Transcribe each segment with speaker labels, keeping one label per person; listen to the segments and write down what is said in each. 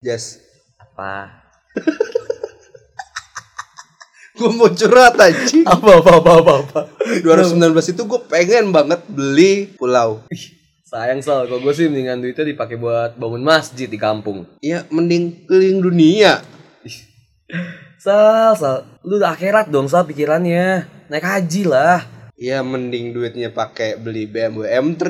Speaker 1: Yes.
Speaker 2: Apa?
Speaker 1: Gue mau curhat anjing.
Speaker 2: Apa apa apa apa. apa.
Speaker 1: 2019 itu gue pengen banget beli pulau.
Speaker 2: Sayang soal kalau gue sih mendingan duitnya dipakai buat bangun masjid di kampung.
Speaker 1: Ya mending keliling dunia.
Speaker 2: Sal, sal, lu udah akhirat dong sal pikirannya. Naik haji lah.
Speaker 1: Ya mending duitnya pakai beli BMW M3.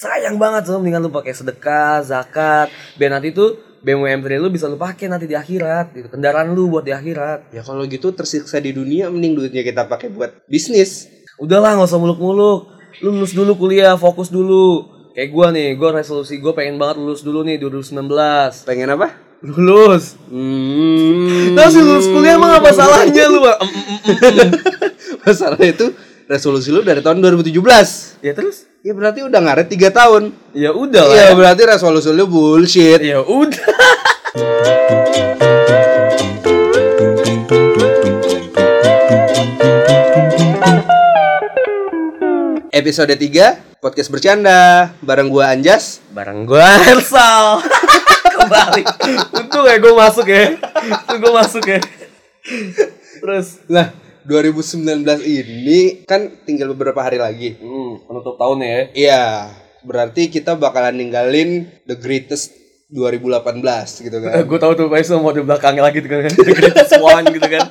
Speaker 2: Sayang banget soal mendingan lu pakai sedekah, zakat. Biar nanti tuh BMW M3 lu bisa lu pakai nanti di akhirat. Itu kendaraan lu buat di akhirat.
Speaker 1: Ya kalau gitu tersiksa di dunia mending duitnya kita pakai buat bisnis.
Speaker 2: Udahlah nggak usah muluk-muluk. Lu lulus dulu kuliah, fokus dulu. Kayak gua nih, gua resolusi gua pengen banget lulus dulu nih 2019.
Speaker 1: Pengen apa?
Speaker 2: Lulus.
Speaker 1: Hmm.
Speaker 2: Nah, sih lulus kuliah emang apa salahnya lu? Bang? Em, em, em.
Speaker 1: Masalah itu resolusi lu dari tahun 2017.
Speaker 2: ya terus?
Speaker 1: Ya berarti udah ngaret 3 tahun.
Speaker 2: Ya udah lah.
Speaker 1: Ya berarti resolusi lu bullshit.
Speaker 2: Ya udah.
Speaker 1: Episode 3 podcast bercanda bareng gua Anjas.
Speaker 2: Bareng gua Ersal. Kembali. Untung ya gua masuk ya. Untung gua masuk ya. Terus
Speaker 1: Nah, 2019 ini kan tinggal beberapa hari lagi.
Speaker 2: hmm, penutup tahun ya.
Speaker 1: Iya, berarti kita bakalan ninggalin the greatest 2018 gitu kan.
Speaker 2: gue Eh, tahu tuh Faisal mau di belakangnya lagi gitu kan. The greatest one gitu kan.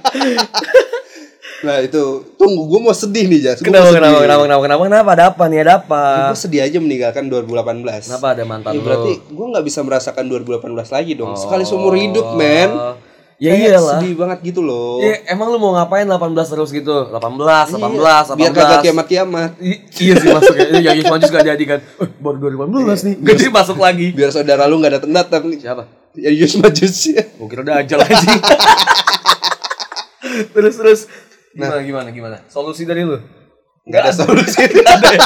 Speaker 1: Nah, itu tunggu gua mau sedih nih, Jas. Gua mau
Speaker 2: Kenapa
Speaker 1: sedih.
Speaker 2: kenapa kenapa kenapa kenapa kenapa ada apa nih ada apa?
Speaker 1: Gua sedih aja meninggalkan 2018.
Speaker 2: Kenapa ada mantan
Speaker 1: Ya,
Speaker 2: lu? Oh.
Speaker 1: berarti gua nggak bisa merasakan 2018 lagi dong. Sekali seumur hidup, men.
Speaker 2: Ya
Speaker 1: kan? Kayak
Speaker 2: iyalah.
Speaker 1: Sedih banget gitu loh.
Speaker 2: Ya, emang lu mau ngapain 18 terus gitu? 18,
Speaker 1: Iya,
Speaker 2: 18, 18.
Speaker 1: Biar kagak kiamat-kiamat.
Speaker 2: I- iya sih masuk ya. Yang Yusuf Manjus gak jadi kan. Eh, baru 2018 nih. Gak jadi masuk lagi.
Speaker 1: Biar saudara lu nggak datang-datang nih.
Speaker 2: Siapa?
Speaker 1: Ya Yus Majus ya.
Speaker 2: Mungkin udah aja lagi. terus terus Nah. gimana gimana gimana? Solusi dari lu?
Speaker 1: Nggak ada solusi.
Speaker 2: Gak ada ya?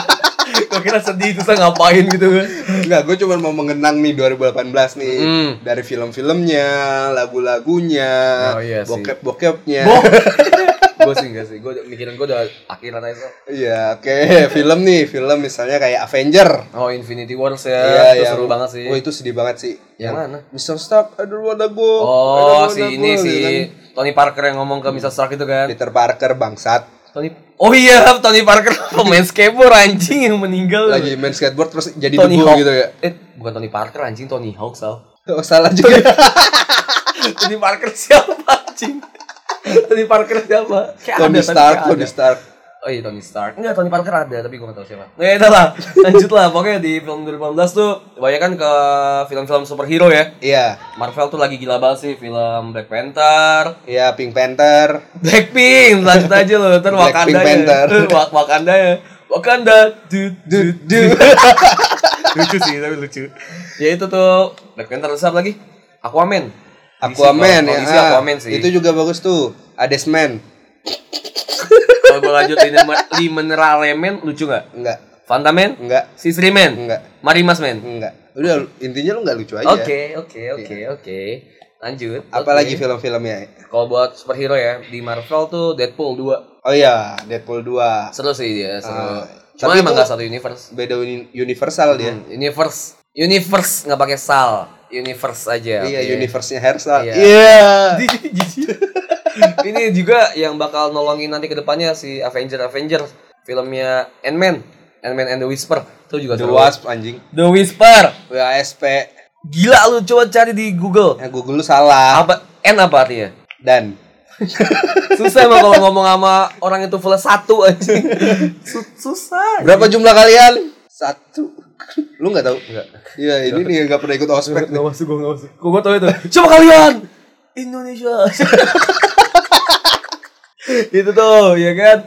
Speaker 2: Kok kira sedih terus ngapain gitu kan?
Speaker 1: Enggak, gue cuma mau mengenang nih 2018 nih
Speaker 2: Mm.
Speaker 1: dari film-filmnya, lagu-lagunya,
Speaker 2: Oh, iya sih.
Speaker 1: bokep-bokepnya.
Speaker 2: gue sih enggak sih. Gue mikiran gue udah akhiran aja. Sal.
Speaker 1: Iya, oke, film nih, film misalnya kayak Avenger. Eh,
Speaker 2: Oh Infinity Wars ya. itu
Speaker 1: yang-
Speaker 2: seru banget sih.
Speaker 1: Oh, itu sedih banget sih.
Speaker 2: Yang mana?
Speaker 1: Mr. Stark, I don't wanna go.
Speaker 2: Oh
Speaker 1: I don't
Speaker 2: si
Speaker 1: wanna
Speaker 2: ini
Speaker 1: go,
Speaker 2: si
Speaker 1: gitu kan.
Speaker 2: Tony Parker yang ngomong ke Mr. Stark itu kan.
Speaker 1: Peter Parker bangsat
Speaker 2: Tony Oh iya, Tony Parker pemain skateboard anjing yang meninggal.
Speaker 1: lagi main skateboard terus jadi
Speaker 2: Tony
Speaker 1: debu
Speaker 2: Hawk
Speaker 1: gitu ya.
Speaker 2: Eh, bukan Tony Parker anjing, Tony Hawk sal.
Speaker 1: Oh, salah juga.
Speaker 2: Tony Parker siapa anjing? Tony Parker siapa? Kayak
Speaker 1: Tony
Speaker 2: ada, tapi
Speaker 1: Stark,
Speaker 2: kayak
Speaker 1: Tony
Speaker 2: ada.
Speaker 1: Stark.
Speaker 2: Oh iya Tony Stark. Enggak Tony Parker ada, tapi gue gak tahu siapa. Nah, itu lah. Lanjut lah. Pokoknya di film 2018 tuh banyak kan ke film-film superhero ya.
Speaker 1: Iya.
Speaker 2: Marvel tuh lagi gila banget sih film Black Panther,
Speaker 1: Iya, Pink Panther.
Speaker 2: Blackpink, lanjut aja loh, ntar
Speaker 1: Black
Speaker 2: Wakanda
Speaker 1: Pink Panther.
Speaker 2: ya, Wak Wakanda ya, Wakanda, du, du, du. lucu sih tapi lucu. Ya itu tuh Black Panther terus apa lagi? Aquaman.
Speaker 1: Aquaman ya.
Speaker 2: Kalau- kalau DC
Speaker 1: ah.
Speaker 2: Oh, Aquaman sih.
Speaker 1: Itu juga bagus tuh. Adesman.
Speaker 2: Kalau gue lanjutin di Mineral Man lucu nggak?
Speaker 1: Enggak.
Speaker 2: Fantaman?
Speaker 1: Enggak.
Speaker 2: Sisri Man?
Speaker 1: Enggak.
Speaker 2: Marimas Man?
Speaker 1: Enggak. Udah lu- intinya lu nggak lucu aja.
Speaker 2: Oke, oke, oke, oke. Lanjut.
Speaker 1: Iya. Apalagi
Speaker 2: Oke.
Speaker 1: film-filmnya.
Speaker 2: Kalau buat superhero ya, di Marvel tuh Deadpool 2.
Speaker 1: Oh iya, Deadpool 2.
Speaker 2: Seru sih dia, seru.
Speaker 1: Ah,
Speaker 2: Cuma
Speaker 1: tapi
Speaker 2: emang
Speaker 1: itu-
Speaker 2: nggak satu universe.
Speaker 1: Beda uni- universal dia.
Speaker 2: Hmm, universe. Universe nggak pakai sal. Universe aja.
Speaker 1: Iya,
Speaker 2: oke.
Speaker 1: universe-nya Hersal.
Speaker 2: Iya.
Speaker 1: Iya.
Speaker 2: Ini juga yang bakal nolongin nanti ke depannya si Avenger Avenger filmnya Ant-Man, Ant-Man and the Whisper. Itu juga
Speaker 1: The
Speaker 2: seru.
Speaker 1: Wasp anjing.
Speaker 2: The Whisper.
Speaker 1: WASP.
Speaker 2: Gila lu coba cari di Google.
Speaker 1: Ya Google lu salah.
Speaker 2: Apa N apa artinya?
Speaker 1: Dan
Speaker 2: Susah emang kalau ngomong sama orang itu full satu aja. Susah.
Speaker 1: berapa jumlah kalian? Satu. Lu nggak tahu?
Speaker 2: Enggak.
Speaker 1: Iya, ini nih nggak pernah ikut ospek. nih.
Speaker 2: masuk, gue gak masuk. Gue tau itu. Coba kalian! Indonesia! itu tuh, ya kan?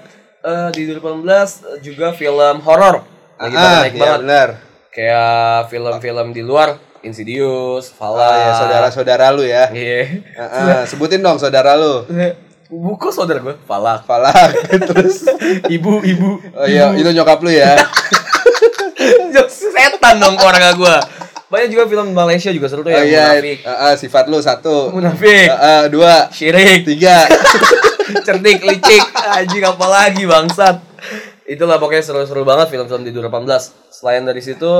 Speaker 2: Eh, di 2018 juga film horor. Lagi pada
Speaker 1: Ah,
Speaker 2: naik
Speaker 1: iya
Speaker 2: banget.
Speaker 1: benar.
Speaker 2: Kayak film-film di luar. Insidious, Fala.
Speaker 1: Ah, ya, saudara-saudara lu ya.
Speaker 2: Iya.
Speaker 1: Ah, ah, sebutin dong saudara lu.
Speaker 2: Buku saudara gue. Falak.
Speaker 1: Falak terus.
Speaker 2: Ibu, ibu.
Speaker 1: Oh iya, itu nyokap lu ya.
Speaker 2: Jok setan dong keluarga gue. Banyak juga film Malaysia juga seru tuh
Speaker 1: Oh
Speaker 2: yang
Speaker 1: iya,
Speaker 2: munafik.
Speaker 1: ah, ah, sifat lu satu.
Speaker 2: Munafik.
Speaker 1: Ah, ah, dua,
Speaker 2: Syirik.
Speaker 1: tiga.
Speaker 2: cerdik licik anjing apa lagi bangsat itulah pokoknya seru-seru banget film-film di 2018 selain dari situ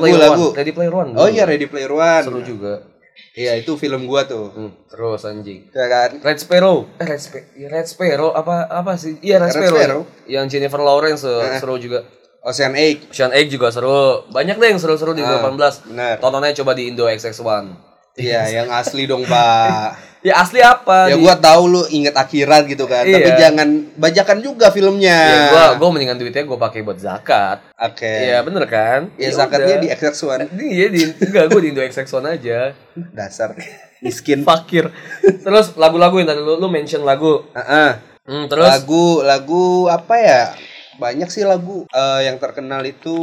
Speaker 1: Lagu,
Speaker 2: Player
Speaker 1: lagu.
Speaker 2: One. Ready Player One.
Speaker 1: Oh iya Ready Player One.
Speaker 2: Seru juga.
Speaker 1: Iya itu film gua tuh.
Speaker 2: Hmm, terus anjing.
Speaker 1: Ya kan?
Speaker 2: Red Sparrow. Eh, Red, Sp Red Sparrow apa apa sih? Iya
Speaker 1: Red
Speaker 2: Red, Sparrow.
Speaker 1: Sparrow.
Speaker 2: Yang Jennifer Lawrence eh, seru juga.
Speaker 1: Ocean Egg.
Speaker 2: Sean Egg juga seru. Banyak deh yang seru-seru di 18.
Speaker 1: Ah, benar.
Speaker 2: Tontonnya coba di Indo XX1.
Speaker 1: Iya yang asli dong pak.
Speaker 2: Ya asli apa?
Speaker 1: Ya
Speaker 2: Di-
Speaker 1: gua tahu lu inget akhirat gitu kan. Tapi
Speaker 2: Iya.
Speaker 1: jangan bajakan juga filmnya.
Speaker 2: Ya, gua gua mendingan duitnya gua pakai buat zakat.
Speaker 1: Oke.
Speaker 2: Iya, bener kan?
Speaker 1: Eh. Ya zakatnya
Speaker 2: udah.
Speaker 1: di XX1
Speaker 2: Iya, di enggak gua di Indo XX1 aja.
Speaker 1: dasar miskin.
Speaker 2: Fakir. Terus lagu-lagu yang tadi lu, lu mention lagu.
Speaker 1: Heeh.
Speaker 2: Hmm, terus
Speaker 1: Lagu lagu apa ya? Banyak sih lagu Eh, yang terkenal itu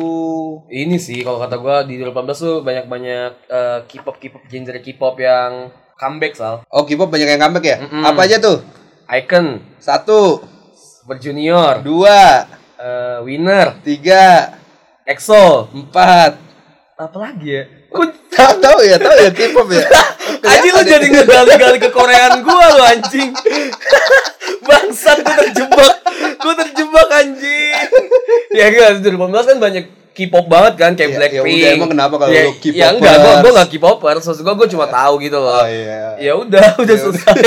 Speaker 2: ini sih kalau kata gua di 18 tuh banyak-banyak eh, K-pop K-pop genre K-pop yang comeback sal.
Speaker 1: Oh, K-pop banyak yang comeback ya? Apa aja tuh?
Speaker 2: Icon,
Speaker 1: Satu,
Speaker 2: Super Junior,
Speaker 1: dua,
Speaker 2: eh, Winner,
Speaker 1: tiga,
Speaker 2: EXO,
Speaker 1: empat.
Speaker 2: apa lagi ya? Gua-
Speaker 1: Tahu tahu ya, tahu ya K-pop ya.
Speaker 2: Anjing lu jadi ngegali-gali ke Koreaan gua lu anjing. Bangsat gua terjebak. Gua terjebak anjing. Ya enggak 2018 kan banyak K-pop banget kan kayak
Speaker 1: Ya- ya
Speaker 2: Blackpink.
Speaker 1: udah, emang kenapa kalau
Speaker 2: ya,
Speaker 1: lu K-popers?
Speaker 2: Ya enggak, gua gua enggak K-popers, maksud gua gua cuma tahu gitu loh.
Speaker 1: Oh iya.
Speaker 2: Ya udah, udah selesai.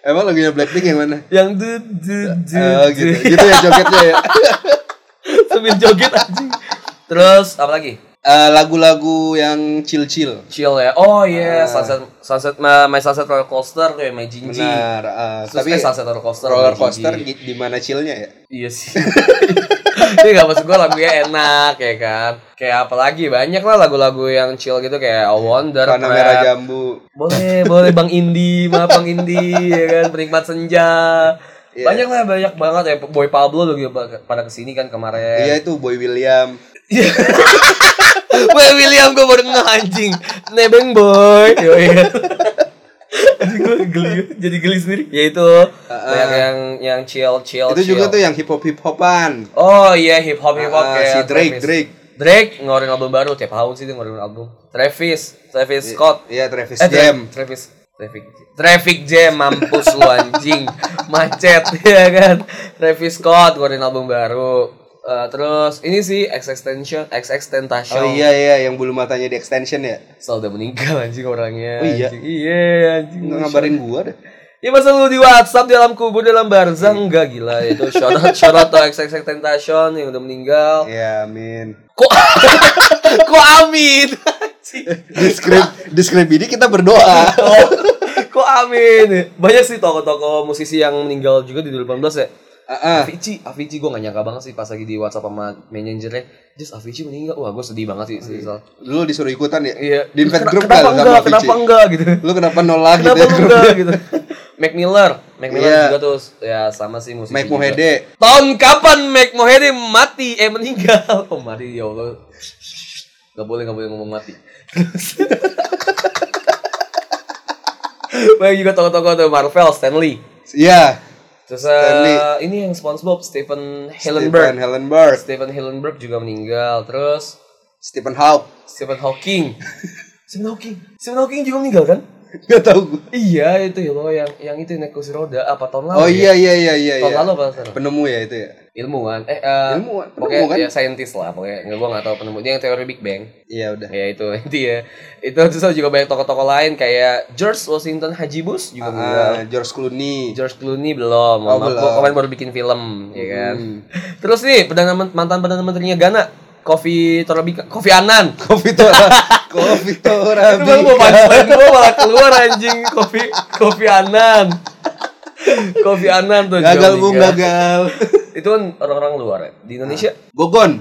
Speaker 1: Emang lagunya Blackpink yang mana?
Speaker 2: Yang du du du.
Speaker 1: Oh, gitu.
Speaker 2: du.
Speaker 1: Gitu ya jogetnya ya.
Speaker 2: Sambil joget anjing. Terus apa lagi?
Speaker 1: Eh, lagu-lagu yang chill-chill.
Speaker 2: Chill ya. Oh
Speaker 1: Ah.
Speaker 2: iya, sunset sunset my, my sunset roller coaster kayak my Jinji.
Speaker 1: Benar. eh,
Speaker 2: Terus
Speaker 1: tapi
Speaker 2: eh, sunset roller coaster.
Speaker 1: roller
Speaker 2: My
Speaker 1: coaster
Speaker 2: Jinji.
Speaker 1: di di mana chillnya ya?
Speaker 2: Iya sih. Ini gak maksud gue lagunya enak ya kan. Kayak apalagi banyak lah lagu-lagu yang chill gitu kayak I Wonder.
Speaker 1: Warna
Speaker 2: Trap.
Speaker 1: merah jambu.
Speaker 2: Boleh, boleh Bang Indi, maaf Bang Indi ya kan penikmat senja.
Speaker 1: Iya.
Speaker 2: Banyak lah banyak banget ya Boy Pablo juga pada kesini kan kemarin. Iya.
Speaker 1: Iya itu Boy William.
Speaker 2: Boy William gue baru ngeh anjing. Nebeng boy. Yoi. Anjing, gua geli- jadi geli sendiri. Ya itu banyak yang yang chill chill.
Speaker 1: itu juga
Speaker 2: chill.
Speaker 1: tuh yang hip hop hip hopan.
Speaker 2: Oh iya hip hop hip hop
Speaker 1: Ah,
Speaker 2: kayak
Speaker 1: si Drake,
Speaker 2: Travis.
Speaker 1: Drake.
Speaker 2: Drake ngeluarin album baru tiap tahun sih dia ngeluarin album. Travis, Travis Scott.
Speaker 1: Iya Travis
Speaker 2: Eh, Tra-
Speaker 1: Jam.
Speaker 2: Travis. Traffic Traffic Jam mampus lu anjing. Macet ya kan. Travis Scott ngeluarin album baru. Eh, terus ini sih XXXTentacion, XXXTentacion.
Speaker 1: Oh iya iya yang bulu matanya di extension ya.
Speaker 2: Sal udah meninggal anjing orangnya.
Speaker 1: Oh, iya?
Speaker 2: Anjing. Iya anjing.
Speaker 1: Nggak ngabarin gua deh.
Speaker 2: Ya masa lu di WhatsApp di dalam kubur di dalam barzah
Speaker 1: Iya.
Speaker 2: enggak gila itu shout out shout out to XXXTentacion yang udah meninggal.
Speaker 1: Iya, amin.
Speaker 2: Kok kok amin?
Speaker 1: Di script di script ini kita berdoa.
Speaker 2: Oh, kok amin? Banyak sih toko-toko musisi yang meninggal juga di 2018 ya.
Speaker 1: Heeh.
Speaker 2: Avicii, Avicii gue gak nyangka banget sih pas lagi di WhatsApp sama manajernya, just Avicii meninggal. Wah, gue sedih banget sih. Sedih soal.
Speaker 1: Lu disuruh ikutan ya?
Speaker 2: Iya.
Speaker 1: Iya. Di invite
Speaker 2: Ken-
Speaker 1: group
Speaker 2: kenapa
Speaker 1: nggak lu
Speaker 2: enggak?
Speaker 1: sama
Speaker 2: Kenapa
Speaker 1: Vici?
Speaker 2: enggak gitu?
Speaker 1: Lu kenapa nolak gitu
Speaker 2: Kenapa
Speaker 1: ya
Speaker 2: lu
Speaker 1: grup?
Speaker 2: enggak gitu? Mac Miller, Mac Miller
Speaker 1: Iya.
Speaker 2: juga tuh ya sama sih musisi.
Speaker 1: Mike
Speaker 2: juga.
Speaker 1: Mohede.
Speaker 2: Tahun kapan Mac Mohede mati? Eh meninggal. Oh mati ya Allah. Gak boleh gak boleh ngomong mati. Banyak juga tokoh-tokoh tuh Marvel, Stanley.
Speaker 1: Iya.
Speaker 2: Terus
Speaker 1: Stanley.
Speaker 2: eh, ini yang SpongeBob, Stephen Hillenburg.
Speaker 1: Stephen Hillenburg.
Speaker 2: Stephen Hillenburg juga meninggal. Terus
Speaker 1: Stephen Hawk.
Speaker 2: Stephen Hawking. Stephen Hawking. Stephen Hawking juga meninggal kan?
Speaker 1: Gak tau gua.
Speaker 2: Iya itu ya loh yang yang itu yang naik kursi roda apa tahun lalu?
Speaker 1: Oh
Speaker 2: ya?
Speaker 1: iya iya iya iya.
Speaker 2: Tahun
Speaker 1: iya.
Speaker 2: lalu apa sekarang?
Speaker 1: Penemu ya itu ya.
Speaker 2: Ilmuwan. Eh eh,
Speaker 1: Ilmuwan, penemu kan?
Speaker 2: Pokoknya ya scientist lah pokoknya. Nggak gua nggak tahu penemu. Dia yang teori Big Bang.
Speaker 1: Iya udah.
Speaker 2: Ya itu intinya. Itu terus ada juga banyak tokoh-tokoh lain kayak George Washington Hajibus juga meninggal.
Speaker 1: Ah, George Clooney.
Speaker 2: George Clooney belum.
Speaker 1: Oh,
Speaker 2: Mohon maaf,
Speaker 1: belum. Hmm.
Speaker 2: gua kemarin baru bikin film, ya kan. Terus nih perdana men- mantan perdana menterinya Ghana, Kofi Torabika, Kofi Annan.
Speaker 1: Kopi Tora. Kopi Tora.
Speaker 2: Itu baru mau punchline gue malah keluar anjing Kofi Kofi Anan Kofi Anan tuh
Speaker 1: Gagal
Speaker 2: Johnny
Speaker 1: bung
Speaker 2: Gal.
Speaker 1: gagal.
Speaker 2: Itu kan orang-orang luar ya Di Indonesia
Speaker 1: Gogon.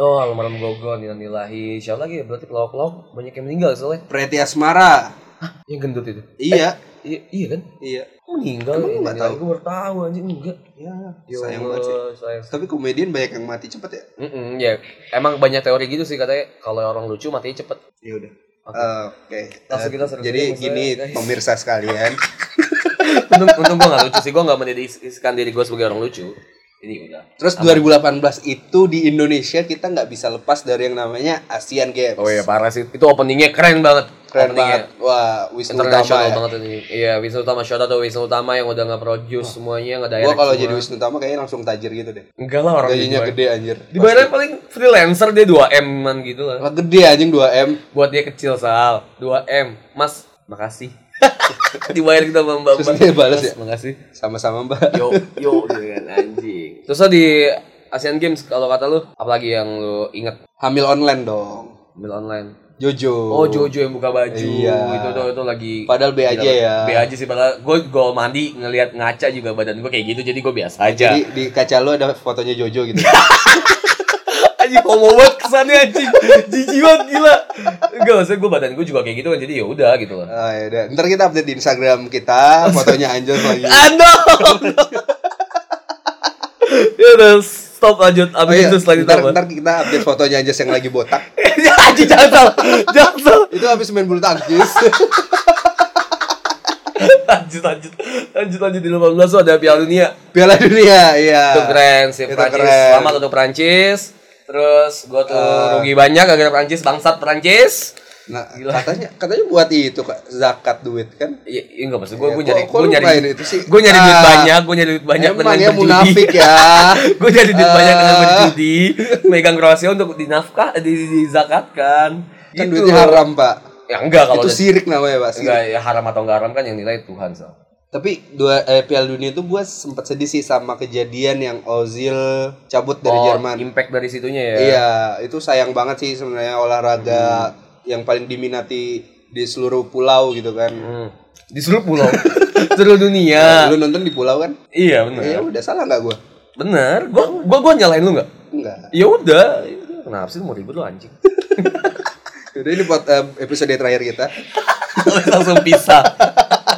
Speaker 2: Oh almarhum Gogon Inanilahi Siapa lagi ya berarti pelawak-pelawak banyak yang meninggal soalnya
Speaker 1: Preti Asmara.
Speaker 2: Hah, Yang gendut itu
Speaker 1: Iya.
Speaker 2: Iya, iya kan
Speaker 1: Iya.
Speaker 2: Kok meninggal
Speaker 1: Emang lu nggak
Speaker 2: Inanilahi? Gue baru tahu anjing enggak
Speaker 1: Ya,
Speaker 2: Ya
Speaker 1: sayang
Speaker 2: Allah,
Speaker 1: banget sih.
Speaker 2: sayang.
Speaker 1: Tapi komedian banyak yang mati cepet ya.
Speaker 2: Mm-mm, ya emang banyak teori gitu sih katanya kalau orang lucu matinya cepet
Speaker 1: Ya udah.
Speaker 2: Oke.
Speaker 1: Eh, Oke.
Speaker 2: Langsung
Speaker 1: Eh,
Speaker 2: kita serius
Speaker 1: Jadi
Speaker 2: aja maksudnya, Iya,
Speaker 1: gini
Speaker 2: guys.
Speaker 1: pemirsa sekalian.
Speaker 2: untung, untung gue gak lucu sih gue gak mendedikasikan diri gue sebagai orang lucu ini udah
Speaker 1: Terus 2018 itu di Indonesia kita nggak bisa lepas dari yang namanya Asian Games.
Speaker 2: iya. Oh iya parah sih. Itu openingnya keren banget.
Speaker 1: Keren
Speaker 2: Opening
Speaker 1: banget. Wah, Wisnu Tama
Speaker 2: internasional
Speaker 1: ya.
Speaker 2: banget ini. Iya, Wisnu Tama shout out to Wisnu Tama yang udah nge-produce semuanya, nge-direct.
Speaker 1: Gua kalau
Speaker 2: semua.
Speaker 1: jadi Wisnu Tama kayaknya langsung tajir gitu deh.
Speaker 2: enggak lah orang
Speaker 1: Gajinya
Speaker 2: dibayar.
Speaker 1: gede anjir.
Speaker 2: Dibayarnya paling freelancer dia 2M an gitu lah.
Speaker 1: Lah gede anjing 2M.
Speaker 2: Buat dia kecil Sal, 2M. Mas, makasih. Dibayar kita sama Mbak.
Speaker 1: Terus dia balas ya?
Speaker 2: Makasih.
Speaker 1: Sama-sama, Mbak.
Speaker 2: Yo, yo dengan anjing. Terus lo di Asian Games kalau kata lu apalagi yang lu inget
Speaker 1: Hamil online dong.
Speaker 2: ambil online.
Speaker 1: Jojo.
Speaker 2: Oh Jojo yang buka baju
Speaker 1: Iya.
Speaker 2: itu tuh itu lagi
Speaker 1: Padahal B aja ya.
Speaker 2: B aja sih padahal gue gol mandi ngelihat ngaca juga badan gue kayak gitu jadi gue biasa aja.
Speaker 1: Di, di kaca lu ada fotonya Jojo gitu.
Speaker 2: Anjing homo banget kesannya anjing jijik banget gila. Enggak maksudnya gue badan gue juga kayak gitu kan jadi ya udah gitu lah.
Speaker 1: Ah, ya udah. Ntar kita update di Instagram kita fotonya Anjos lagi.
Speaker 2: Ando. ya udah stop lanjut
Speaker 1: Oh
Speaker 2: abis
Speaker 1: iya,
Speaker 2: itu selanjutnya
Speaker 1: ntar, Ya,
Speaker 2: apa?
Speaker 1: ntar kita update fotonya Anjos yang lagi botak.
Speaker 2: Anjing jangan salah, jangan salah.
Speaker 1: Itu habis main bulu tangkis.
Speaker 2: lanjut lanjut lanjut lanjut di 18 tuh ada Piala Dunia
Speaker 1: Piala Dunia, iya.
Speaker 2: itu keren sih
Speaker 1: Itu
Speaker 2: Prancis
Speaker 1: keren. Ah.
Speaker 2: selamat untuk Prancis terus gua tuh rugi banyak gara-gara Prancis bangsat Prancis
Speaker 1: Nah,
Speaker 2: Gila.
Speaker 1: katanya katanya buat itu Kak, zakat duit kan.
Speaker 2: Iya, iya enggak maksud gue,
Speaker 1: Ya,
Speaker 2: gue
Speaker 1: kok-
Speaker 2: nyari,
Speaker 1: kok
Speaker 2: gue
Speaker 1: lu
Speaker 2: nyari,
Speaker 1: main itu sih?
Speaker 2: gue nyari duit
Speaker 1: Ah,
Speaker 2: banyak, gue nyari duit banyak
Speaker 1: Emang ya
Speaker 2: berjudi.
Speaker 1: munafik ya.
Speaker 2: gue nyari duit
Speaker 1: Ah.
Speaker 2: banyak dengan berjudi, megang kroasia untuk dinafkah, di, di zakatkan.
Speaker 1: Kan duitnya haram, Pak.
Speaker 2: Ya enggak kalau
Speaker 1: Itu
Speaker 2: udah-
Speaker 1: sirik namanya, Pak. Sirik.
Speaker 2: enggak ya haram atau enggak haram kan yang nilai Tuhan so.
Speaker 1: Tapi dua eh, Piala Dunia itu gue sempat sedih sih sama kejadian yang Ozil cabut dari
Speaker 2: Oh,
Speaker 1: Jerman.
Speaker 2: Impact dari situnya ya. Hmm.
Speaker 1: Iya, itu sayang banget sih sebenarnya olahraga yang paling diminati di seluruh pulau gitu kan.
Speaker 2: Hmm. Di seluruh pulau, seluruh dunia.
Speaker 1: Lu nonton di pulau kan?
Speaker 2: Iya benar.
Speaker 1: Ya udah salah nggak gue?
Speaker 2: Bener. Gua gua gua nyalain lu nggak?
Speaker 1: Enggak.
Speaker 2: Ya udah. Kenapa sih lu mau ribut lu anjing?
Speaker 1: Udah ini pot, eh, episode terakhir kita.
Speaker 2: Langsung pisah.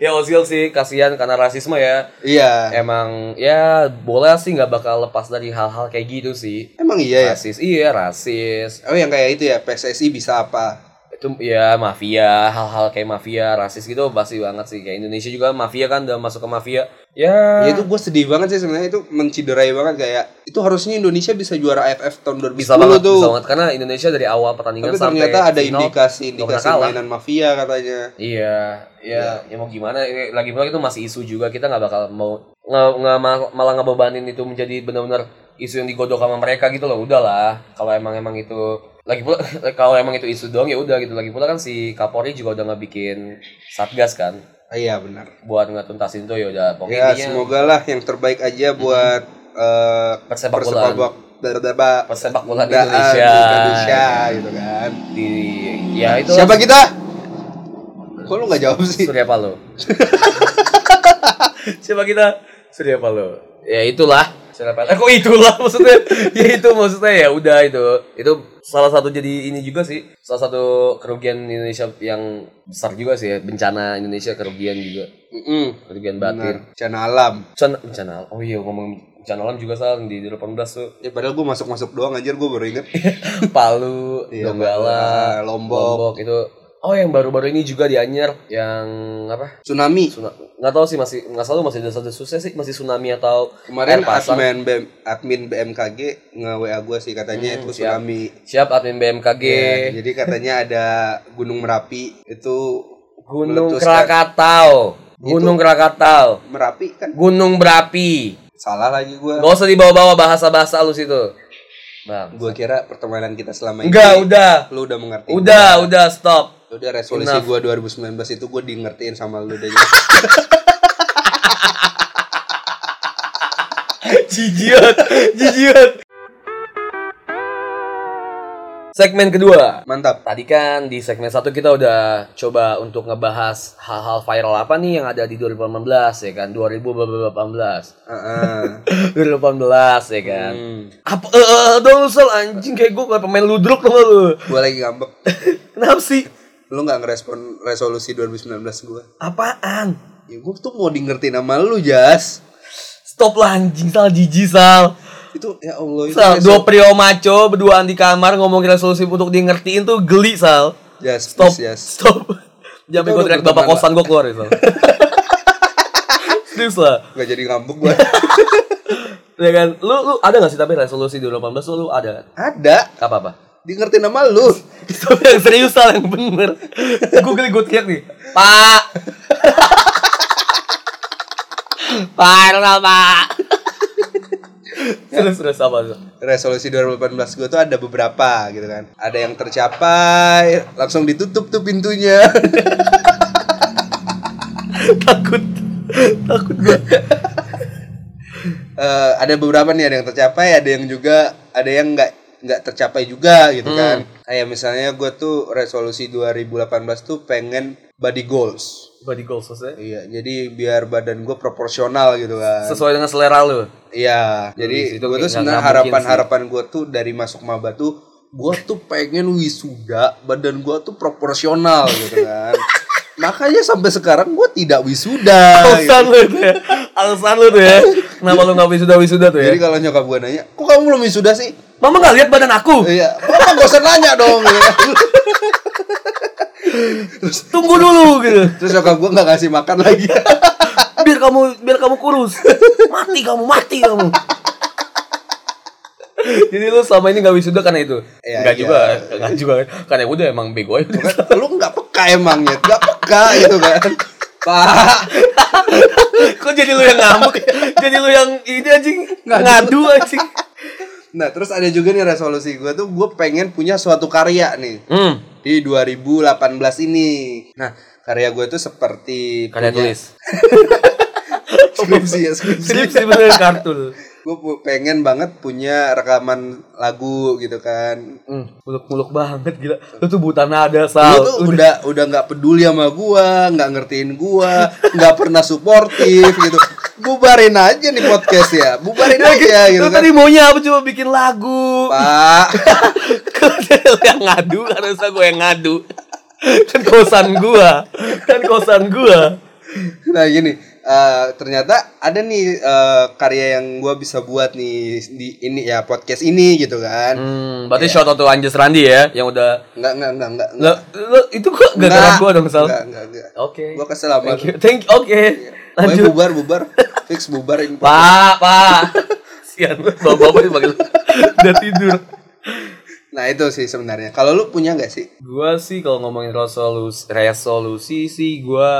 Speaker 2: ya Ozil sih kasihan karena rasisme ya.
Speaker 1: Iya.
Speaker 2: Emang ya bola sih nggak bakal lepas dari hal-hal kayak gitu sih.
Speaker 1: Emang iya ya.
Speaker 2: Rasis, iya rasis.
Speaker 1: Oh yang kayak itu ya PSSI bisa apa?
Speaker 2: Itu ya mafia, hal-hal kayak mafia, rasis gitu pasti banget sih. Kayak Indonesia juga mafia kan udah masuk ke mafia. Ya,
Speaker 1: Ya itu gue sedih banget sih sebenarnya itu menciderai banget kayak itu harusnya Indonesia bisa juara AFF tahun 2010
Speaker 2: bisa banget,
Speaker 1: tuh.
Speaker 2: bisa banget karena Indonesia dari awal pertandingan
Speaker 1: Tapi
Speaker 2: sampai
Speaker 1: ternyata ada
Speaker 2: final, nggak pernah
Speaker 1: indikasi-indikasi
Speaker 2: kalah.
Speaker 1: mainan mafia katanya.
Speaker 2: Iya, iya, ya mau gimana? ini Lagi pula itu masih isu juga kita nggak bakal mau nggak nggak mal- malah ngebebanin itu menjadi benar-benar isu yang digodok sama mereka gitu loh. Udahlah, kalau emang emang itu lagi pula kalau emang itu isu doang ya udah gitu. Lagi pula kan si Kapolri juga udah ngebikin satgas kan
Speaker 1: Ah, iya benar.
Speaker 2: buat ngetuntasin tuh ya
Speaker 1: Ya
Speaker 2: udah pokoknya intinya Mm-hmm.
Speaker 1: semoga lah yang terbaik aja buat eh,
Speaker 2: Persepak bolaan.
Speaker 1: persepakbola- berdeba-
Speaker 2: persepak bola di
Speaker 1: daan
Speaker 2: Indonesia.
Speaker 1: Indonesia gitu kan.
Speaker 2: Di ya itu
Speaker 1: Siapa kita? Kok lu nggak jawab sih?
Speaker 2: Surya Paloh. Siapa kita? Surya Paloh. Ya itulah. Surya Paloh. Eh, kok itulah maksudnya? ya itu maksudnya ya udah itu. Itu salah satu jadi ini juga sih. Salah satu kerugian Indonesia yang besar juga sih ya. Bencana Indonesia kerugian juga.
Speaker 1: Mm-mm.
Speaker 2: Kerugian
Speaker 1: Benar.
Speaker 2: batin.
Speaker 1: Bencana alam.
Speaker 2: Bencana, bencana alam. Oh iya ngomong bencana alam juga salah di 18 tuh.
Speaker 1: Ya padahal gue masuk-masuk doang anjir gue baru inget.
Speaker 2: Palu,
Speaker 1: Iya,
Speaker 2: Donggala,
Speaker 1: Donggala, Lombok.
Speaker 2: Lombok itu. Oh yang baru-baru ini juga di Anyer yang apa?
Speaker 1: Tsunami.
Speaker 2: Suna- nggak tahu sih masih nggak tahu masih ada susah sih masih tsunami atau
Speaker 1: Kemarin
Speaker 2: air pasang.
Speaker 1: admin, BM admin BMKG nge-WA gue sih katanya itu tsunami.
Speaker 2: Hmm, siap admin BMKG
Speaker 1: Ya, jadi katanya ada Gunung Merapi itu
Speaker 2: Gunung
Speaker 1: meletuskan.
Speaker 2: Krakatau Gunung Krakatau
Speaker 1: Merapi kan
Speaker 2: Gunung Berapi
Speaker 1: salah lagi gue.
Speaker 2: nggak usah dibawa-bawa bahasa-bahasa lu situ bang
Speaker 1: Gue kira pertemanan kita selama ini
Speaker 2: enggak udah
Speaker 1: lu udah mengerti.
Speaker 2: udah udah stop
Speaker 1: Udah resolusi
Speaker 2: Enough.
Speaker 1: gua 2019 itu gue di ngertiin sama lu deh.
Speaker 2: jijiat jijiat segmen kedua
Speaker 1: Mantap.
Speaker 2: Tadi kan di segmen satu kita udah coba untuk ngebahas hal-hal viral apa nih yang ada di 2018 ya kan 2018
Speaker 1: Heeh.
Speaker 2: 2018 ya kan
Speaker 1: Hmm.
Speaker 2: apa eh eh, dong lu Sal, anjing kayak gue kayak pemain ludruk dong lu
Speaker 1: Gue lagi ngambek.
Speaker 2: kenapa sih
Speaker 1: Lu nggak ngerespon resolusi 2019 gua.
Speaker 2: apaan
Speaker 1: Ya gue tuh mau di ngertiin sama lu, Jas.
Speaker 2: stop lah anjing sal jijik sal
Speaker 1: Itu ya Allah itu.
Speaker 2: sal
Speaker 1: resol-
Speaker 2: dua prio maco berduaan di kamar ngomongin resolusi untuk di ngertiin tuh geli sal
Speaker 1: Jas,
Speaker 2: stop
Speaker 1: please, Jas.
Speaker 2: stop
Speaker 1: Itu
Speaker 2: jangan gue
Speaker 1: udah
Speaker 2: teriak bapak
Speaker 1: berteman,
Speaker 2: kosan gue keluar ya sal serius lah
Speaker 1: Gak jadi ngambek gua.
Speaker 2: Ya kan? Lu lu ada gak sih tapi resolusi 2018 lu, lu ada?
Speaker 1: Ada
Speaker 2: Apa apa?
Speaker 1: Dia ngerti nama lu.
Speaker 2: Itu yang serius Sal, yang bener Google gue teriak nih Pak Pak Ronald Pak Terus terus apa tuh?
Speaker 1: Resolusi 2018 gue tuh ada beberapa gitu kan. Ada yang tercapai, langsung ditutup tuh pintunya.
Speaker 2: Takut Takut gue
Speaker 1: Eh, ada beberapa nih ada yang tercapai, ada yang juga ada yang nggak nggak tercapai juga gitu
Speaker 2: Hmm.
Speaker 1: kan. Kayak misalnya gue tuh resolusi 2018 tuh pengen body goals.
Speaker 2: Body goals maksudnya
Speaker 1: Iya, jadi biar badan gue proporsional gitu kan.
Speaker 2: Sesuai dengan selera lu
Speaker 1: Iya,
Speaker 2: Nah, di
Speaker 1: jadi
Speaker 2: situ
Speaker 1: gue tuh
Speaker 2: kayak nggak-
Speaker 1: sebenarnya
Speaker 2: nggak mungkin
Speaker 1: harapan-harapan gue tuh dari masuk maba tuh gue tuh pengen wisuda badan gue tuh proporsional gitu kan. Makanya sampai sekarang gue tidak wisuda. gitu.
Speaker 2: Alasan lu tuh ya Alasan lu tuh ya Kenapa lu gak wisuda-wisuda tuh ya
Speaker 1: Jadi kalau nyokap gue nanya, kok kamu belum wisuda sih?
Speaker 2: Mama gak lihat badan aku
Speaker 1: Iya, mama gak usah nanya dong. gitu kan.
Speaker 2: Tunggu dulu gitu
Speaker 1: Terus nyokap gue gak ngasih makan lagi.
Speaker 2: biar kamu biar kamu kurus mati kamu mati kamu jadi lu selama ini gak wisuda karena itu
Speaker 1: Iya,
Speaker 2: Enggak
Speaker 1: iya.
Speaker 2: juga enggak juga karena udah emang bego aja udah.
Speaker 1: Bukan, Lu gak peka emangnya, gak peka gitu kan. Pak,
Speaker 2: kok jadi lu yang ngambek jadi lu yang ini anjing ngadu anjing
Speaker 1: nah terus ada juga nih resolusi gue tuh gue pengen punya suatu karya nih.
Speaker 2: hmm
Speaker 1: di 2018 ini. Nah, karya gue tuh seperti
Speaker 2: karya tulis
Speaker 1: skripsi ya, skripsi.
Speaker 2: strip strip bener kartun
Speaker 1: Gue pu- pengen banget punya rekaman lagu gitu kan.
Speaker 2: hmm, muluk muluk banget gila lu tuh buta nada
Speaker 1: Gue
Speaker 2: sal
Speaker 1: tuh udah udah nggak peduli sama gua, nggak ngertiin gua, nggak pernah suportif gitu. Bubarin aja nih podcast ya, bubarin aja gitu
Speaker 2: lu
Speaker 1: kan.
Speaker 2: tadi maunya apa coba bikin lagu
Speaker 1: Pak,
Speaker 2: Kalau dia yang ngadu kan harusnya gue yang ngadu Kan kosan gue Kan kosan gue
Speaker 1: nah gini, eh, ternyata ada nih eh, karya yang gua bisa buat nih di ini ya podcast ini gitu kan.
Speaker 2: Hmm, berarti shout out to Anjes Randi ya Yang udah Nah.
Speaker 1: Nggak nggak nggak nggak
Speaker 2: lo, lo, Itu kok gak gara gue dong Sal
Speaker 1: Enggak, enggak, enggak.
Speaker 2: Oke
Speaker 1: Gua kesel sama
Speaker 2: Thank
Speaker 1: lu.
Speaker 2: you, thank you. Oke
Speaker 1: Pokoknya
Speaker 2: Lanjut
Speaker 1: bubar, bubar. Fix bubar ini.
Speaker 2: Pak, pak Sian lu bapak-bapak dipanggil Udah tidur
Speaker 1: Nah, itu sih sebenarnya. Kalau lu punya nggak sih?
Speaker 2: Gue sih kalau ngomongin resolusi, resolusi sih gue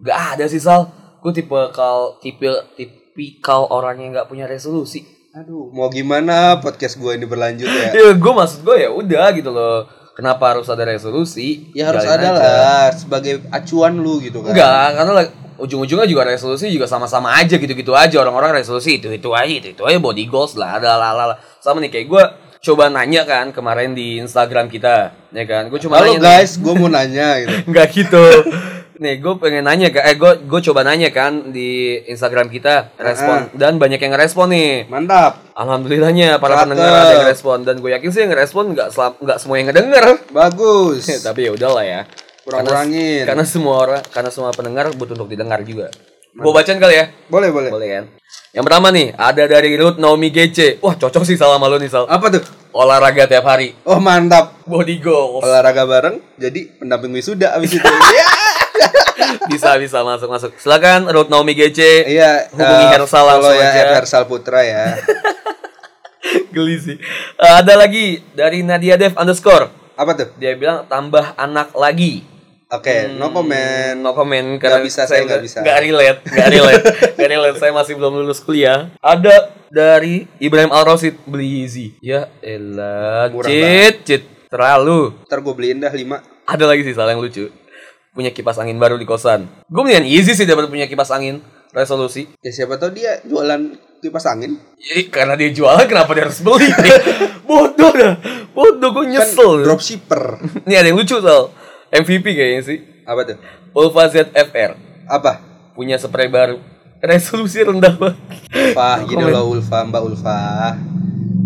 Speaker 2: Gak ada sih Sal Gue tipe kal, tipe, tipikal orang yang gak punya resolusi
Speaker 1: Aduh, mau gimana podcast gua ini berlanjut ya?
Speaker 2: ya gue maksud gue ya udah gitu loh kenapa harus ada resolusi
Speaker 1: Ya harus ada
Speaker 2: Jalanin aja.
Speaker 1: lah sebagai acuan lu gitu kan.
Speaker 2: enggak karena lah, ujung-ujungnya juga resolusi juga sama-sama aja gitu-gitu aja orang-orang resolusi itu itu aja itu itu aja body goals lah ada lah lah lah. sama nih kayak gue coba nanya kan kemarin di Instagram kita ya kan gue cuma
Speaker 1: Halo
Speaker 2: nanya
Speaker 1: guys, gua mau nanya gitu.
Speaker 2: Nggak gitu. Nih, gue pengen nanya, Kak. eh gue gue coba nanya kan di Instagram kita respon dan banyak yang ngerespon nih.
Speaker 1: Mantap.
Speaker 2: Alhamdulillahnya para
Speaker 1: Cakep.
Speaker 2: pendengar ada yang respon dan gue yakin sih yang ngerespon nggak selam- nggak semua yang ngedenger.
Speaker 1: Bagus.
Speaker 2: Ya, tapi ya udahlah ya.
Speaker 1: Kurang-kurangin.
Speaker 2: Karena semua orang, karena semua pendengar butuh untuk didengar juga. Gue bacain kali ya.
Speaker 1: Boleh, boleh.
Speaker 2: Boleh kan? Yang pertama nih, ada dari Ruth Naomi GC. Wah, cocok sih salah malu nih, Sal.
Speaker 1: Apa tuh?
Speaker 2: Olahraga tiap hari.
Speaker 1: Oh, mantap.
Speaker 2: Body goals.
Speaker 1: Olahraga bareng jadi pendamping wisuda abis itu. Iya.
Speaker 2: bisa bisa masuk masuk. Silakan Ruth Naomi GC.
Speaker 1: Iya,
Speaker 2: Hubungi
Speaker 1: eh,
Speaker 2: Hersal
Speaker 1: follow
Speaker 2: langsung
Speaker 1: ya,
Speaker 2: aja.
Speaker 1: Hersal Putra ya.
Speaker 2: Geli sih. Eh, ada lagi dari Nadia Dev underscore.
Speaker 1: Apa tuh?
Speaker 2: Dia bilang tambah anak lagi.
Speaker 1: Oke,
Speaker 2: Hmm.
Speaker 1: no comment.
Speaker 2: Eh, no comment karena
Speaker 1: bisa, saya nggak bisa.
Speaker 2: Gak relate, gak relate, gak relate. Saya masih belum lulus kuliah. Ada dari Ibrahim Al Rosid beli Yeezy. Ya elah,
Speaker 1: Murah
Speaker 2: cit, cit, terlalu.
Speaker 1: Ntar gue beliin dah 5
Speaker 2: Ada lagi sih salah yang lucu. Punya kipas angin baru di kosan. Gue mendingan Yeezy sih daripada punya kipas angin resolusi.
Speaker 1: Ya siapa tau dia jualan kipas angin
Speaker 2: Ih, karena dia jualan kenapa dia harus beli? bodoh dah, bodoh gue nyesel.
Speaker 1: Kan Dropshipper
Speaker 2: Ini ada yang lucu soal MVP kayaknya sih.
Speaker 1: Apa tuh?
Speaker 2: Ulfa ZFR.
Speaker 1: Apa?
Speaker 2: punya spray baru resolusi rendah banget
Speaker 1: Pak, gini loh Ulfa, Mbak Ulfa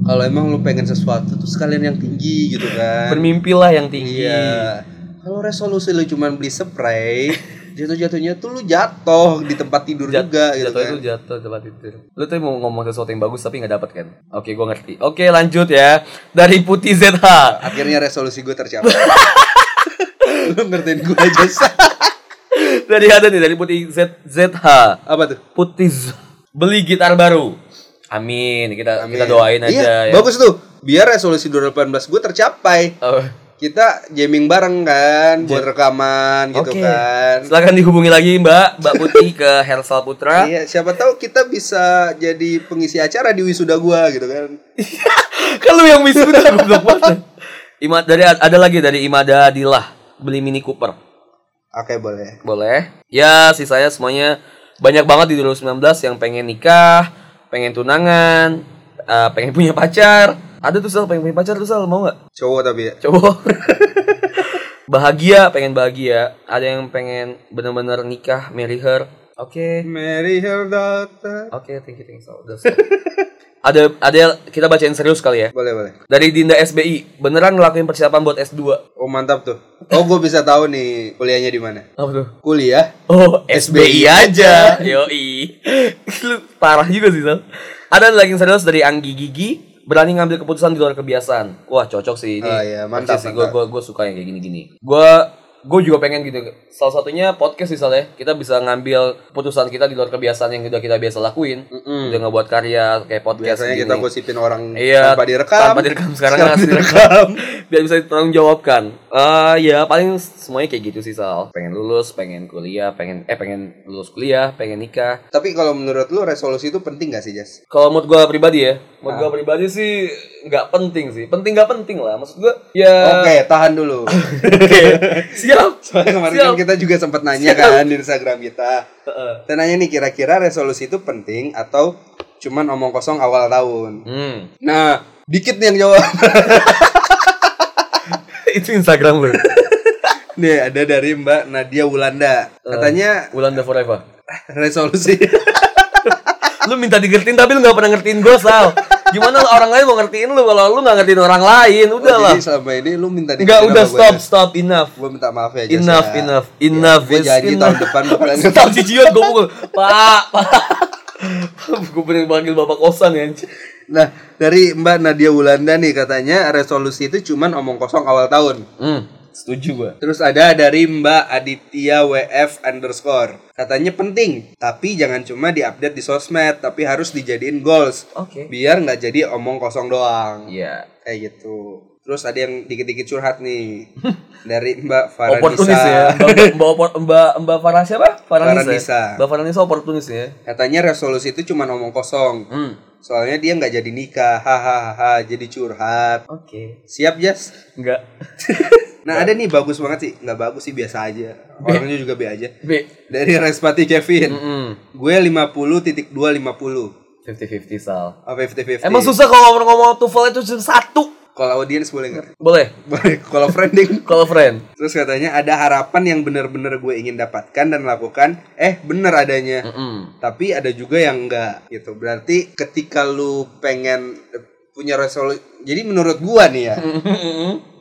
Speaker 1: Kalau emang lu pengen sesuatu tuh sekalian yang tinggi gitu kan
Speaker 2: bermimpilah yang tinggi
Speaker 1: Iya Kalau resolusi lu cuman beli spray Jatuh-jatuhnya tuh lu jatuh di tempat tidur juga gitu
Speaker 2: jatuh
Speaker 1: kan
Speaker 2: itu jatuh tempat tidur lu tuh mau ngomong sesuatu yang bagus tapi nggak dapet kan oke gua ngerti oke lanjut ya dari putih ZH
Speaker 1: Akhirnya resolusi gue tercapai Lu ngertiin gue aja Sa.
Speaker 2: dari ada nih dari putih Z ZH
Speaker 1: Apa tuh?
Speaker 2: putih Z- beli gitar baru Amin. Kita
Speaker 1: Amin.
Speaker 2: kita doain aja
Speaker 1: Iya,
Speaker 2: ya.
Speaker 1: Bagus tuh. Biar resolusi 2018 gue tercapai.
Speaker 2: Oh,
Speaker 1: Kita jamming bareng kan buat rekaman gitu
Speaker 2: Iya. Oke.
Speaker 1: kan.
Speaker 2: Silakan dihubungi lagi Mbak, Mbak Putih ke Hersal Putra.
Speaker 1: Iya, siapa tahu kita bisa jadi pengisi acara di wisuda gua gitu kan.
Speaker 2: kan lu yang miskin goblok banget. Ima- dari ada lagi dari Imada Adilah beli Mini Cooper.
Speaker 1: Oke, boleh.
Speaker 2: Boleh. Ya, sih saya semuanya banyak banget di 2019 yang pengen nikah, pengen tunangan, eh, pengen punya pacar. Ada tuh Sal, pengen punya pacar tuh Sal, mau nggak?
Speaker 1: Cowok tapi ya.
Speaker 2: Coba. bahagia, pengen bahagia. Ada yang pengen bener-bener nikah, marry her. Oke.
Speaker 1: Mary her daughter.
Speaker 2: Oke, thank you, thank you. Sal. Udah, Sal. ada ada kita bacain serius kali ya.
Speaker 1: Boleh, boleh.
Speaker 2: Dari Dinda SBI, beneran ngelakuin persiapan buat S2.
Speaker 1: Oh, mantap tuh. Oh, gua bisa tahu nih kuliahnya di mana.
Speaker 2: Apa tuh?
Speaker 1: Kuliah
Speaker 2: Oh, SBI aja. Yoi. Lu parah juga sih, Sal. Ada lagi yang serius dari Anggi Gigi, berani ngambil keputusan di luar kebiasaan. Wah, cocok sih ini.
Speaker 1: Ah, iya, mantap,
Speaker 2: Persis sih. Gua, gua, gua suka yang kayak gini-gini. Gua gue juga pengen gitu salah satunya podcast sih soalnya kita bisa ngambil keputusan kita di luar kebiasaan yang udah kita biasa lakuin
Speaker 1: Mm-mm.
Speaker 2: udah ngebuat karya kayak podcast
Speaker 1: biasanya
Speaker 2: gini.
Speaker 1: kita gosipin orang
Speaker 2: Iya,
Speaker 1: tanpa direkam.
Speaker 2: Tanpa direkam sekarang langsung direkam. Biar bisa ditanggung jawabkan. Eh ya paling semuanya kayak gitu sih Sal. Pengen lulus, pengen kuliah, pengen eh pengen lulus kuliah, pengen nikah.
Speaker 1: Tapi kalau menurut lu resolusi itu penting gak sih, Jas?
Speaker 2: Kalau mood gua pribadi ya, mood
Speaker 1: Ah.
Speaker 2: gua pribadi sih nggak penting sih. Penting nggak penting lah. Maksud gua ya
Speaker 1: Oke, tahan dulu. Oh.
Speaker 2: siap.
Speaker 1: Soalnya kemarin
Speaker 2: siap.
Speaker 1: kan kita juga sempat nanya kan di Instagram kita.
Speaker 2: Heeh.
Speaker 1: Kita nanya nih kira-kira resolusi itu penting atau cuman omong kosong awal tahun.
Speaker 2: Hmm.
Speaker 1: Nah, dikit nih yang jawab.
Speaker 2: Itu Instagram lu.
Speaker 1: nih ada dari Mbak Nadia Wulanda.
Speaker 2: Eh.
Speaker 1: Katanya
Speaker 2: Ulanda forever.
Speaker 1: resolusi.
Speaker 2: lu minta digertiin tapi lu nggak pernah ngertiin gua Sal. Gimana lu- orang lain mau ngertiin lu kalau lu nggak ngertiin orang lain? Udah lah.
Speaker 1: Oh, Jadi selama ini lu minta
Speaker 2: Enggak
Speaker 1: dikit
Speaker 2: udah
Speaker 1: sama
Speaker 2: stop
Speaker 1: gua, ya? Jas.
Speaker 2: stop enough.
Speaker 1: Gua minta maaf ya, Jas,
Speaker 2: Enough,
Speaker 1: ya.
Speaker 2: enough, enough.
Speaker 1: Gua
Speaker 2: is
Speaker 1: janji tahun
Speaker 2: enough.
Speaker 1: depan bakalan
Speaker 2: Tahu jijian gue pukul. Pak, pak. gue pengen panggil bapak kosan ya. anjing.
Speaker 1: Nah, dari Mbak Nadia Wulanda nih katanya resolusi itu cuman omong kosong awal tahun.
Speaker 2: Hmm, setuju gue.
Speaker 1: Terus ada dari Mbak Aditya WF underscore. Katanya penting, tapi jangan cuma diupdate di sosmed, tapi harus dijadiin goals.
Speaker 2: Oke.
Speaker 1: Biar nggak jadi omong kosong doang.
Speaker 2: Iya.
Speaker 1: Kayak gitu. Terus ada yang dikit-dikit curhat nih. dari Mbak
Speaker 2: Oportunis ya.
Speaker 1: Faranisa.
Speaker 2: Mbak Mbak Opor- Mbak Mbak Farah siapa? Faranisa.
Speaker 1: Faranisa.
Speaker 2: Mbak Faranisa oportunis ya.
Speaker 1: Katanya resolusi itu cuman omong kosong.
Speaker 2: Hmm.
Speaker 1: Soalnya dia nggak jadi nikah, hahaha, jadi curhat.
Speaker 2: Oke.
Speaker 1: Siap, Jas?
Speaker 2: Enggak.
Speaker 1: Nah ada nih bagus banget sih Nggak bagus sih biasa aja Orangnya juga B aja
Speaker 2: B.
Speaker 1: Dari Respati Kevin
Speaker 2: Hmm.
Speaker 1: Gue 50.250 titik
Speaker 2: Fifty fifty sal.
Speaker 1: Apa 50-50
Speaker 2: Emang susah kalau ngomong-ngomong tuval itu cuma satu.
Speaker 1: Kalau audiens boleh nggak?
Speaker 2: Boleh.
Speaker 1: Boleh Kalau friending
Speaker 2: Kalau friend.
Speaker 1: Terus katanya ada harapan yang bener-bener gue ingin dapatkan dan lakukan Eh bener adanya
Speaker 2: Hmm.
Speaker 1: Tapi ada juga yang enggak gitu Berarti ketika lu pengen eh, punya resolusi Jadi menurut gua nih ya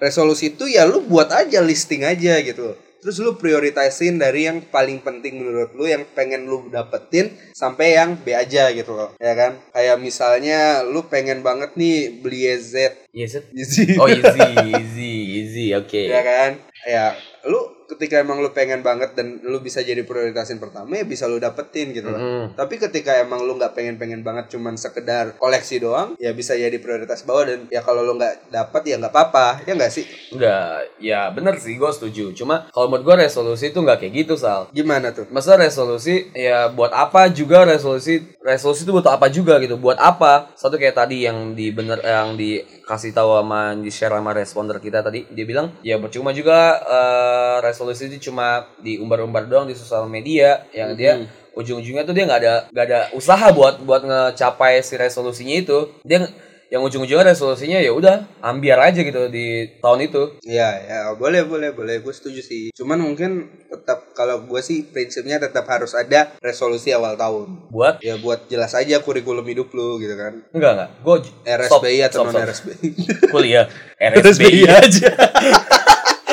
Speaker 1: resolusi itu ya lu buat aja listing aja gitu terus lu prioritasin dari yang paling penting menurut lu yang pengen lu dapetin sampai yang B aja gitu loh ya kan kayak misalnya lu pengen banget nih beli E Gitu. YZ
Speaker 2: Yes. it.
Speaker 1: Yeezy,
Speaker 2: Oh easy, easy, easy. Oke.
Speaker 1: ya kan ya lu ketika emang lu pengen banget dan lu bisa jadi prioritasin pertama ya bisa lu dapetin gitu loh
Speaker 2: Mm.
Speaker 1: tapi ketika emang lu nggak pengen-pengen banget cuman sekedar koleksi doang ya bisa jadi prioritas bawah dan ya kalau lu nggak dapat ya nggak apa-apa ya nggak sih
Speaker 2: Enggak, ya bener sih gue setuju. Cuma kalau menurut gue resolusi itu nggak kayak gitu Sal.
Speaker 1: gimana tuh
Speaker 2: Masa resolusi ya buat apa juga resolusi resolusi itu buat apa juga gitu buat apa satu kayak tadi yang di bener yang dikasih tahu sama di share sama responder kita tadi dia bilang ya percuma juga eh, resolusi itu cuma diumbar-umbar doang di sosial media yang dia ujung-ujungnya tuh dia nggak ada nggak ada usaha buat buat ngecapai si resolusinya itu dia nge- yang ujung-ujungnya resolusinya ya udah ambiar aja gitu di tahun itu
Speaker 1: Ya, ya boleh boleh boleh gue setuju sih. Cuman mungkin tetap kalau gue sih prinsipnya tetap harus ada resolusi awal tahun.
Speaker 2: buat
Speaker 1: Ya buat jelas aja kurikulum hidup lu gitu kan.
Speaker 2: enggak enggak gue
Speaker 1: RSBI atau non RSBI.
Speaker 2: kuliah RSBI aja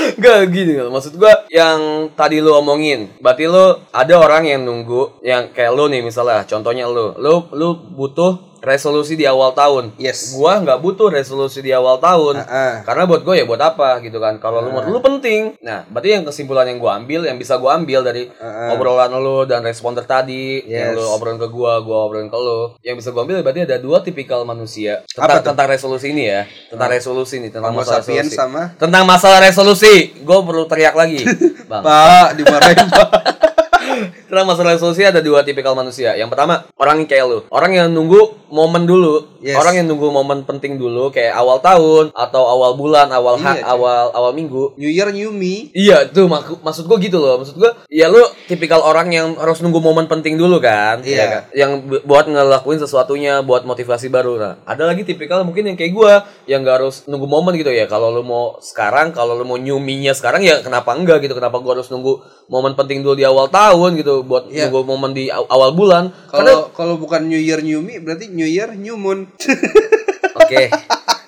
Speaker 2: Enggak gini loh. maksud gua yang tadi lu omongin berarti lu ada orang yang nunggu yang kayak lu nih misalnya contohnya lu lu lu butuh resolusi di awal tahun.
Speaker 1: Yes.
Speaker 2: Gua nggak butuh resolusi di awal
Speaker 1: Ah,
Speaker 2: tahun.
Speaker 1: ah.
Speaker 2: Karena buat gue ya buat apa gitu kan. Kalau lu menurut lu penting. Nah, berarti yang kesimpulan yang gua ambil, yang bisa gua ambil dari obrolan lu dan responder tadi, yang
Speaker 1: Yes.
Speaker 2: lu obrolan ke gua, gua obrolan ke lu. Yang bisa gua ambil berarti ada dua tipikal manusia. Tentang, tentang resolusi ini ya. Tentang resolusi nih, tentang
Speaker 1: Ah. Homo
Speaker 2: masalah
Speaker 1: sapiens
Speaker 2: resolusi.
Speaker 1: sama
Speaker 2: Tentang masalah resolusi, gua perlu teriak lagi. Bang.
Speaker 1: Pak dimarahin Pak.
Speaker 2: Karena masalah resolusi ada dua tipikal manusia. Yang pertama, orang yang kayak lu. Orang yang nunggu momen dulu.
Speaker 1: Yes.
Speaker 2: Orang yang nunggu momen penting dulu kayak awal tahun atau awal bulan, awal hak,
Speaker 1: Iya, cuy.
Speaker 2: awal awal minggu.
Speaker 1: New Year New Me.
Speaker 2: Iya, tuh mak- maksud gua gitu loh. Maksud gua, ya lu tipikal orang yang harus nunggu momen penting dulu kan.
Speaker 1: Iya.
Speaker 2: Ya kan? Yang bu- buat ngelakuin sesuatunya, buat motivasi baru. Nah, ada lagi tipikal mungkin yang kayak gua yang gak harus nunggu momen gitu ya. Kalau lu mau sekarang, kalau lu mau nyuminya sekarang ya kenapa enggak gitu. Kenapa gua harus nunggu momen penting dulu di awal tahun gitu buat
Speaker 1: Iya.
Speaker 2: nunggu momen di aw- awal bulan. Karena
Speaker 1: Kalau kalau bukan New Year New Me berarti New Year New Moon.
Speaker 2: Oke.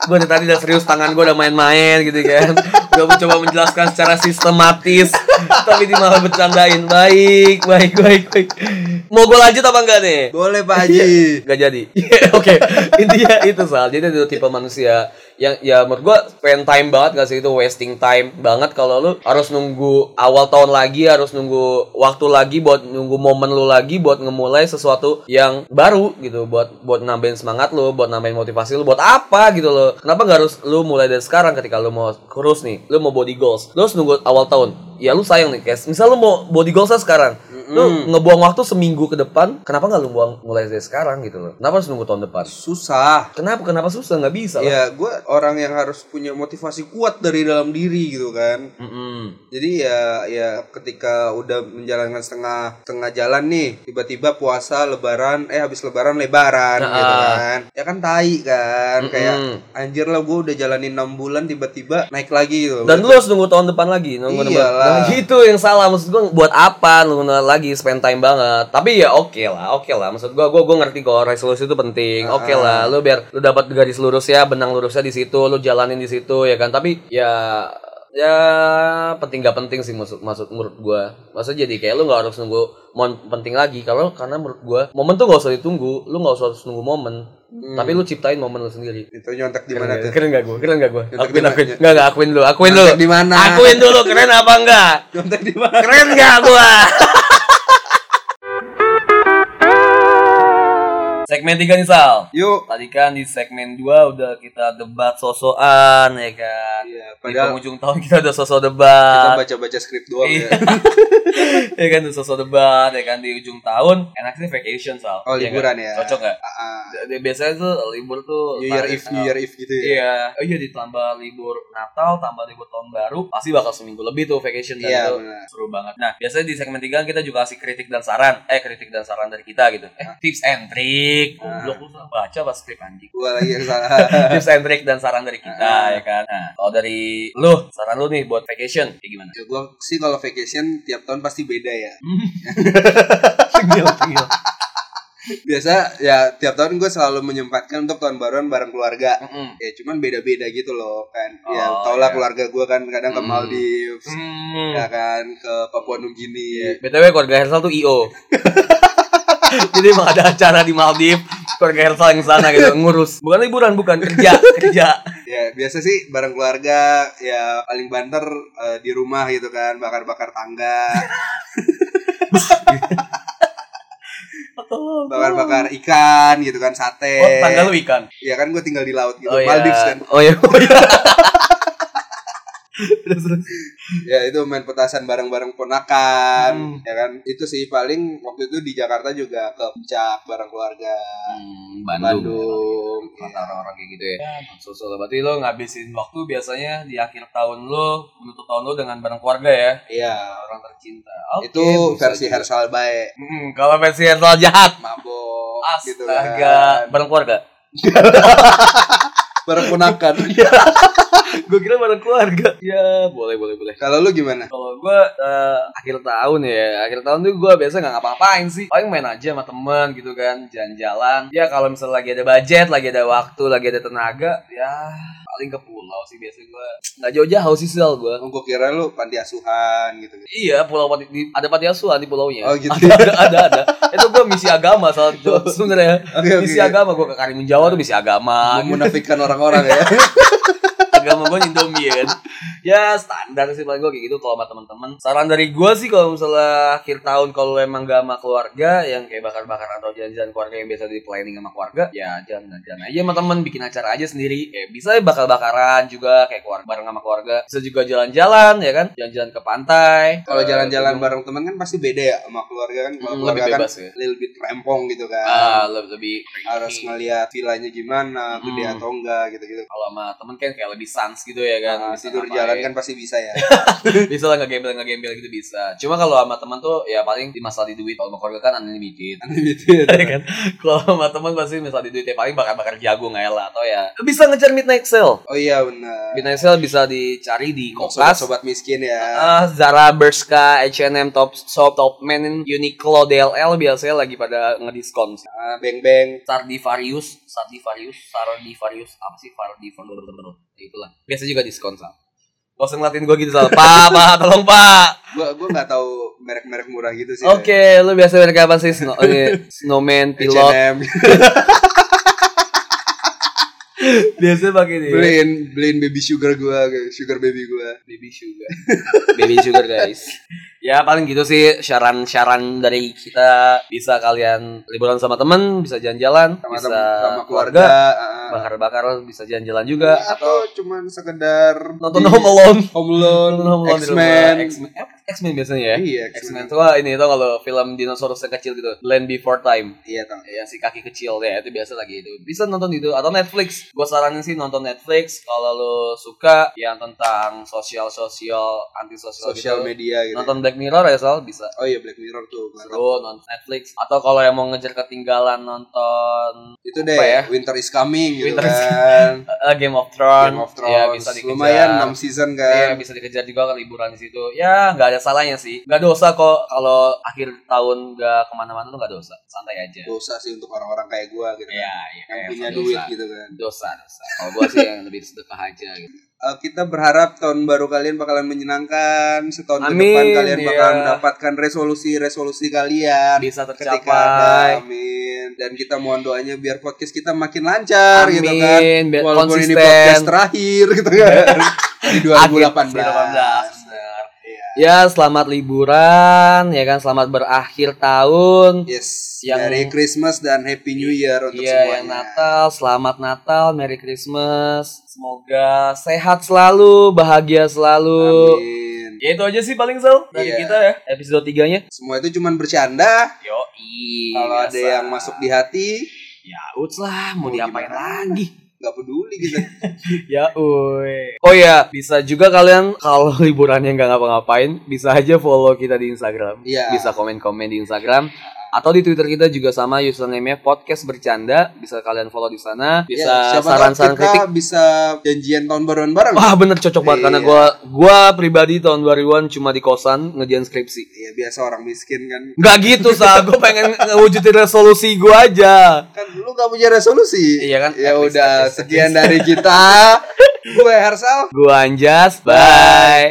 Speaker 2: Gue dari tadi udah serius tangan gue udah main-main gitu kan. Gue mencoba menjelaskan secara sistematis, tapi dia malah bercandain. Baik, baik, baik, baik. Mau gue lanjut apa enggak nih?
Speaker 1: Boleh Pak Haji.
Speaker 2: Gak jadi. Iya, Oke, intinya itu soal. Jadi ada dua tipe manusia yang ya menurut gua spend time banget gak sih itu wasting time banget kalau lu harus nunggu awal tahun lagi, harus nunggu waktu lagi buat nunggu momen lu lagi buat ngemulai sesuatu yang baru gitu, buat buat nambahin semangat lu, buat nambahin motivasi lu buat apa gitu loh. Kenapa gak harus lu mulai dari sekarang ketika lu mau kurus nih, lu mau body goals, lu harus nunggu awal tahun. Ya lu sayang nih, guys. Misal lu mau body goalsnya sekarang, lu ngebuang waktu seminggu ke depan, kenapa nggak lu buang mulai dari sekarang gitu loh? Kenapa harus nunggu tahun depan?
Speaker 1: Susah.
Speaker 2: Kenapa? Kenapa susah? Nggak bisa lah.
Speaker 1: Ya, gue orang yang harus punya motivasi kuat dari dalam diri gitu kan.
Speaker 2: Mm-mm.
Speaker 1: Jadi ya ya ketika udah menjalankan setengah setengah jalan nih, tiba-tiba puasa lebaran eh habis lebaran lebaran gitu kan. Ya kan tai kan kayak anjir lah gue udah jalanin 6 bulan tiba-tiba naik lagi gitu.
Speaker 2: Dan lu harus nunggu tahun depan lagi, nunggu nunggu-
Speaker 1: Iyalah.
Speaker 2: Nah, gitu yang salah maksud gua buat apa nunggu nunggu lagi spend time banget. Tapi ya oke lah, oke lah. Maksud gua gua gua ngerti kok resolusi itu penting. Oke lah, lu biar lu dapat garis lurus ya, benang lurusnya di situ, lu jalanin di situ ya kan. Tapi ya ya penting gak penting sih maksud maksud menurut gua maksudnya jadi kayak lu nggak harus nunggu momen penting lagi kalau karena menurut gua momen tuh nggak usah ditunggu lu nggak usah harus nunggu momen tapi lu ciptain momen lu sendiri
Speaker 1: Itu nyontek di mana
Speaker 2: Keren
Speaker 1: tuh?
Speaker 2: gak- Keren gak gue? Keren gak gue?
Speaker 1: Nyontek
Speaker 2: Akuin,
Speaker 1: di
Speaker 2: akuin.
Speaker 1: mana?
Speaker 2: Enggak, enggak, akuin dulu. Akuin dulu.
Speaker 1: Nyontek di mana?
Speaker 2: Akuin dulu, keren apa enggak?
Speaker 1: Nyontek di mana?
Speaker 2: Keren gak gue? segmen 3 nih, Sal.
Speaker 1: Yuk.
Speaker 2: Tadi kan di segmen 2 udah kita debat sosokan, ya kan?
Speaker 1: Iya,
Speaker 2: di
Speaker 1: padahal-
Speaker 2: penghujung tahun kita udah sosok
Speaker 1: Kita
Speaker 2: debat.
Speaker 1: baca-baca skrip doang
Speaker 2: Iya.
Speaker 1: ya.
Speaker 2: ya kan, udah sosok debat, ya kan? Di ujung tahun, enaknya vacation, Sal.
Speaker 1: Oh,
Speaker 2: Iya kan?
Speaker 1: liburan ya.
Speaker 2: Cocok gak?
Speaker 1: Ah,
Speaker 2: Biasanya tuh libur tuh...
Speaker 1: New Year
Speaker 2: target
Speaker 1: Eve,
Speaker 2: tanggal-
Speaker 1: New Year Eve gitu ya.
Speaker 2: Iya, oh iya ditambah libur Natal, tambah libur tahun baru, pasti bakal seminggu lebih tuh vacation dan
Speaker 1: Iya,
Speaker 2: itu
Speaker 1: benar.
Speaker 2: seru banget. Nah, biasanya di segmen 3 kita juga kasih kritik dan saran, eh kritik dan saran dari kita gitu. Eh, tips and trick. Goblok lu salah baca pas skrip anjing.
Speaker 1: Gua lagi yang salah.
Speaker 2: tips and trick dan saran dari kita ya kan. Nah, kalau dari lu, saran lu nih buat vacation kayak gimana?
Speaker 1: Ya, gua sih kalau vacation tiap tahun pasti beda ya.
Speaker 2: Hmm. Tengil, tengil.
Speaker 1: Biasa ya tiap tahun gue selalu menyempatkan untuk tahun baruan bareng keluarga.
Speaker 2: Mm-mm.
Speaker 1: ya cuman beda-beda gitu loh kan ya
Speaker 2: Oh,
Speaker 1: tau lah
Speaker 2: iya.
Speaker 1: keluarga gue kan kadang ke
Speaker 2: Hmm.
Speaker 1: Maldives
Speaker 2: Hmm. Iya.
Speaker 1: ya kan ke Papua Nugini
Speaker 2: BTW keluarga Hersal tuh IO. Jadi emang ada acara di Maldives, keluarga Hersal yang sana gitu ngurus. Bukan liburan, bukan kerja, kerja.
Speaker 1: ya biasa sih bareng keluarga ya paling banter eh, di rumah gitu kan bakar-bakar tangga bakar-bakar ikan gitu kan sate
Speaker 2: Oh, tanggal lu ikan.
Speaker 1: ya kan gue tinggal di laut gitu
Speaker 2: Oh iya.
Speaker 1: Maldives kan
Speaker 2: Oh iya. Oh, iya. Terus, terus.
Speaker 1: ya itu main petasan bareng-bareng ponakan
Speaker 2: Hmm.
Speaker 1: ya kan itu sih paling waktu itu di Jakarta juga ke puncak bareng keluarga
Speaker 2: Hmm,
Speaker 1: Bandung
Speaker 2: Kata orang-orang kayak gitu ya. Susul. Berarti lo ngabisin waktu biasanya di akhir tahun lo, menutup tahun lo dengan bareng keluarga ya.
Speaker 1: Iya,
Speaker 2: Orang tercinta. Oke,
Speaker 1: itu
Speaker 2: bisa
Speaker 1: versi
Speaker 2: juga.
Speaker 1: Hersal baik
Speaker 2: Hmm, kalau versi Hersal jahat.
Speaker 1: mabok gitu
Speaker 2: Astaga,
Speaker 1: kan
Speaker 2: bareng keluarga.
Speaker 1: berpunakan
Speaker 2: Iya. gue kira bareng keluarga ya boleh boleh boleh
Speaker 1: kalau lu gimana
Speaker 2: kalau gue eh, akhir tahun ya akhir tahun tuh gue biasa nggak ngapa-ngapain sih paling main aja sama temen gitu kan jalan-jalan ya kalau misalnya lagi ada budget lagi ada waktu lagi ada tenaga ya paling ke pulau sih biasa gue nggak jauh-jauh sih sel gue
Speaker 1: Oh, gue kira lu panti asuhan gitu.
Speaker 2: Iya, pulau Pati- di, ada panti asuhan di pulaunya.
Speaker 1: Oh, gitu.
Speaker 2: Ada ada ada. ada. Itu gue misi agama soal sebenarnya.
Speaker 1: Oke, oke.
Speaker 2: misi agama gue ke Karimun Jawa tuh misi agama.
Speaker 1: Memunafikan orang-orang ya.
Speaker 2: agama gue Indomie ya kan. Ya standar sih paling gue kayak gitu kalau sama teman-teman. Saran dari gue sih kalau misalnya akhir tahun kalau emang gak sama keluarga yang kayak bakar-bakar atau jalan-jalan keluarga yang biasa di planning sama keluarga, ya jalan-jalan aja sama teman bikin acara aja sendiri. Kayak bisa ya bakar-bakaran juga kayak keluarga bareng sama keluarga. Bisa juga jalan-jalan ya kan, jalan-jalan ke pantai.
Speaker 1: Kalau
Speaker 2: Eh,
Speaker 1: jalan-jalan
Speaker 2: gunung.
Speaker 1: bareng teman kan pasti beda ya sama keluarga kan. Kalau
Speaker 2: Hmm,
Speaker 1: keluarga
Speaker 2: lebih
Speaker 1: kan
Speaker 2: bebas ya.
Speaker 1: lebih rempong gitu kan.
Speaker 2: Ah, lebih lebih
Speaker 1: harus ngelihat vilanya gimana, gede
Speaker 2: Hmm.
Speaker 1: atau enggak gitu-gitu.
Speaker 2: kalau sama temen kan kayak lebih sans gitu ya kan
Speaker 1: Nah,
Speaker 2: Bisa
Speaker 1: tidur
Speaker 2: ngapain.
Speaker 1: jalan kan pasti bisa ya.
Speaker 2: bisa lah ngegembel ngegembel gitu bisa cuma kalau sama teman tuh ya paling di masalah di duit kalau sama keluarga kan unlimited
Speaker 1: gitu.
Speaker 2: Ya kan kalau sama teman pasti masalah di duit ya paling bakar bakar jagung ya lah atau ya bisa ngejar midnight sale
Speaker 1: Oh iya benar.
Speaker 2: midnight sale bisa dicari di
Speaker 1: Sobat,
Speaker 2: kokas
Speaker 1: sobat miskin ya.
Speaker 2: Ah, Zara, Bershka, H&M, Top Shop, Top Men, Uniqlo, DLL biasanya lagi pada ngediskon. sih.
Speaker 1: Ah, Beng-beng.
Speaker 2: Stradivarius, Stradivarius, Stradivarius, apa sih Stradivarius? Itulah. Biasa juga diskon sal. Gak usah ngeliatin gue gitu sal. Pak, pak, tolong pak.
Speaker 1: Gua gua nggak tahu merek-merek murah gitu sih.
Speaker 2: Oke, lu biasa merek apa sih? Snow, oke, Snowman, Pilot.
Speaker 1: H&M.
Speaker 2: Biasa pakai ini.
Speaker 1: beliin beliin baby sugar gua, sugar baby gua.
Speaker 2: Baby sugar. Baby sugar guys. Ya paling gitu sih saran-saran dari kita bisa kalian liburan sama temen, bisa jalan-jalan,
Speaker 1: Sama
Speaker 2: bisa
Speaker 1: sama keluarga. ah, ah.
Speaker 2: bakar-bakar bisa jalan-jalan juga.
Speaker 1: atau cuman sekedar
Speaker 2: Nonton
Speaker 1: di-
Speaker 2: Home Alone.
Speaker 1: Home Alone,
Speaker 2: Nonton Home Alone di rumah.
Speaker 1: Iya. X-Men.
Speaker 2: X-Men Eh, X-Men biasanya ya
Speaker 1: Iya, X-Men.
Speaker 2: X-Men tuh ah, ini tau kalau film dinosaurus yang kecil gitu Land Before Time
Speaker 1: Iya, tau.
Speaker 2: yang si kaki kecil ya itu biasa lagi itu bisa nonton itu atau Netflix gue saranin sih nonton Netflix kalau lo suka yang tentang sosial sosial anti sosial
Speaker 1: Sosial
Speaker 2: gitu
Speaker 1: media gitu.
Speaker 2: nonton Black Mirror ya Sal bisa
Speaker 1: Oh iya Black Mirror tuh. mantap.
Speaker 2: Seru nonton Netflix atau kalau yang mau ngejar ketinggalan nonton
Speaker 1: Itu deh
Speaker 2: Apa ya?
Speaker 1: Winter is Coming gitu
Speaker 2: Winter is-
Speaker 1: kan.
Speaker 2: eh, Game of Thrones
Speaker 1: Game of
Speaker 2: ya
Speaker 1: Thrones.
Speaker 2: bisa dikejar
Speaker 1: Lumayan 6 season
Speaker 2: Iya
Speaker 1: kan.
Speaker 2: bisa dikejar juga kalau liburan di situ. Ya nggak ada salahnya sih. Nggak dosa kok kalau akhir tahun nggak kemana-mana tuh nggak dosa. Santai aja.
Speaker 1: Dosa sih untuk orang-orang kayak gua gitu. kan.
Speaker 2: Iya, iya.
Speaker 1: Yang
Speaker 2: iya,
Speaker 1: punya
Speaker 2: dosa.
Speaker 1: duit gitu kan.
Speaker 2: Dosa, dosa. Kalau gua sih yang lebih sedekah aja. Gitu.
Speaker 1: Eh, kita berharap tahun baru kalian bakalan menyenangkan. Setahun
Speaker 2: Amin,
Speaker 1: ke depan kalian
Speaker 2: iya.
Speaker 1: bakalan mendapatkan resolusi-resolusi kalian.
Speaker 2: Bisa
Speaker 1: ketika ada
Speaker 2: tercapai.
Speaker 1: amin dan kita mohon doanya biar podcast kita makin lancar
Speaker 2: Amin,
Speaker 1: gitu kan
Speaker 2: biar
Speaker 1: walaupun ini
Speaker 2: konsisten.
Speaker 1: podcast terakhir gitu kan di 2018
Speaker 2: 2018. benar.
Speaker 1: Iya.
Speaker 2: Ya selamat liburan, ya kan selamat berakhir tahun.
Speaker 1: yes
Speaker 2: Yang-
Speaker 1: dari Christmas dan Happy New Year Iya, untuk
Speaker 2: Iya, yang
Speaker 1: semuanya
Speaker 2: Natal, selamat Natal, Merry Christmas. Semoga sehat selalu, bahagia selalu.
Speaker 1: amin
Speaker 2: Ya itu aja sih paling Sel dari
Speaker 1: Iya.
Speaker 2: kita ya episode 3 nya
Speaker 1: semua itu cuman bercanda
Speaker 2: Yo
Speaker 1: kalau
Speaker 2: Iya,
Speaker 1: ada yang masuk di hati
Speaker 2: Ya uts lah mau
Speaker 1: Mau
Speaker 2: diapain
Speaker 1: gimana?
Speaker 2: lagi
Speaker 1: nggak peduli gitu
Speaker 2: Ya uy Oh ya bisa juga kalian kalau liburannya nggak ngapa-ngapain Bisa aja follow kita di Instagram
Speaker 1: Iya.
Speaker 2: Bisa komen-komen di Instagram atau di Twitter kita juga sama username-nya podcast bercanda bisa kalian follow di
Speaker 1: Ya,
Speaker 2: sana bisa
Speaker 1: siapa tahu
Speaker 2: saran-saran
Speaker 1: kita
Speaker 2: kritik
Speaker 1: bisa janjian tahun baruan bareng
Speaker 2: wah bener cocok banget karena
Speaker 1: Iya.
Speaker 2: gua gua pribadi tahun 2000 cuma di kosan ngejalan skripsi
Speaker 1: Iya biasa orang miskin kan
Speaker 2: Gak gitu sa, gue pengen ngewujudin resolusi gue aja.
Speaker 1: kan lu gak punya resolusi
Speaker 2: Iya kan?
Speaker 1: ya
Speaker 2: At least,
Speaker 1: udah
Speaker 2: at least, at
Speaker 1: sekian
Speaker 2: least.
Speaker 1: dari kita gue Hersal
Speaker 2: Gue Anjas, bye.